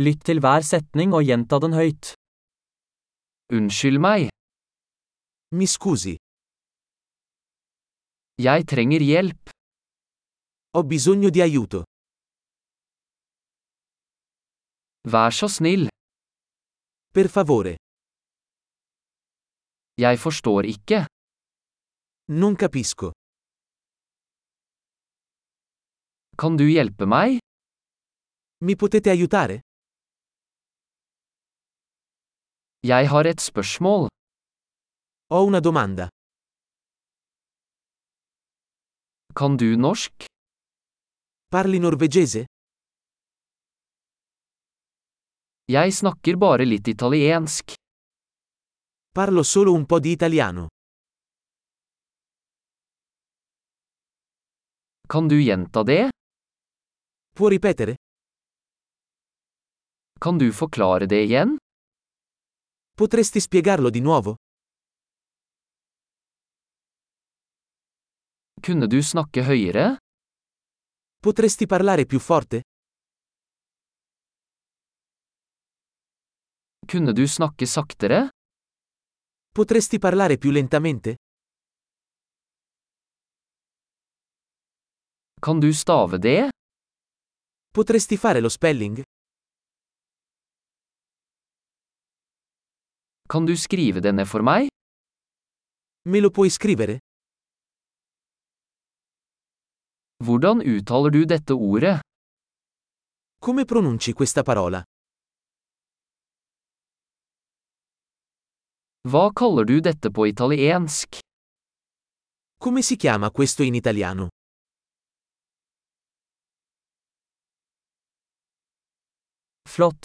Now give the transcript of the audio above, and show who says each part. Speaker 1: Lytt til hver setning og gjenta den høyt. Unnskyld meg,
Speaker 2: Mi scusi,
Speaker 1: jeg trenger hjelp.
Speaker 2: ho bisogno di aiuto.
Speaker 1: Vær så snill,
Speaker 2: Per favore,
Speaker 1: jeg forstår ikke.
Speaker 2: non capisco.
Speaker 1: Kan du hjelpe meg?
Speaker 2: Mi potete aiutare?
Speaker 1: Jeg har et spørsmål.
Speaker 2: Ho una domanda.
Speaker 1: Kan du norsk?
Speaker 2: Parli norvegese?
Speaker 1: Jeg snakker bare litt italiensk.
Speaker 2: Parlo solo un po' di italiano.
Speaker 1: Kan du gjenta det?
Speaker 2: Può ripetere?
Speaker 1: Kan du forklare det igjen?
Speaker 2: Potresti spiegarlo di nuovo?
Speaker 1: Kunne du snakke høyere?
Speaker 2: Potresti parlare più forte?
Speaker 1: Kunne du snakke saktere?
Speaker 2: Potresti parlare più lentamente?
Speaker 1: Kan du stave det?
Speaker 2: Potresti fare lo spelling?
Speaker 1: Kan du skrive det ned for meg?
Speaker 2: Me lo puoi scrivere?
Speaker 1: Hvordan uttaler du dette ordet?
Speaker 2: Come pronunci questa parola?
Speaker 1: Hva kaller du dette på italiensk?
Speaker 2: Come si chiama questo in italiano?
Speaker 1: Flott!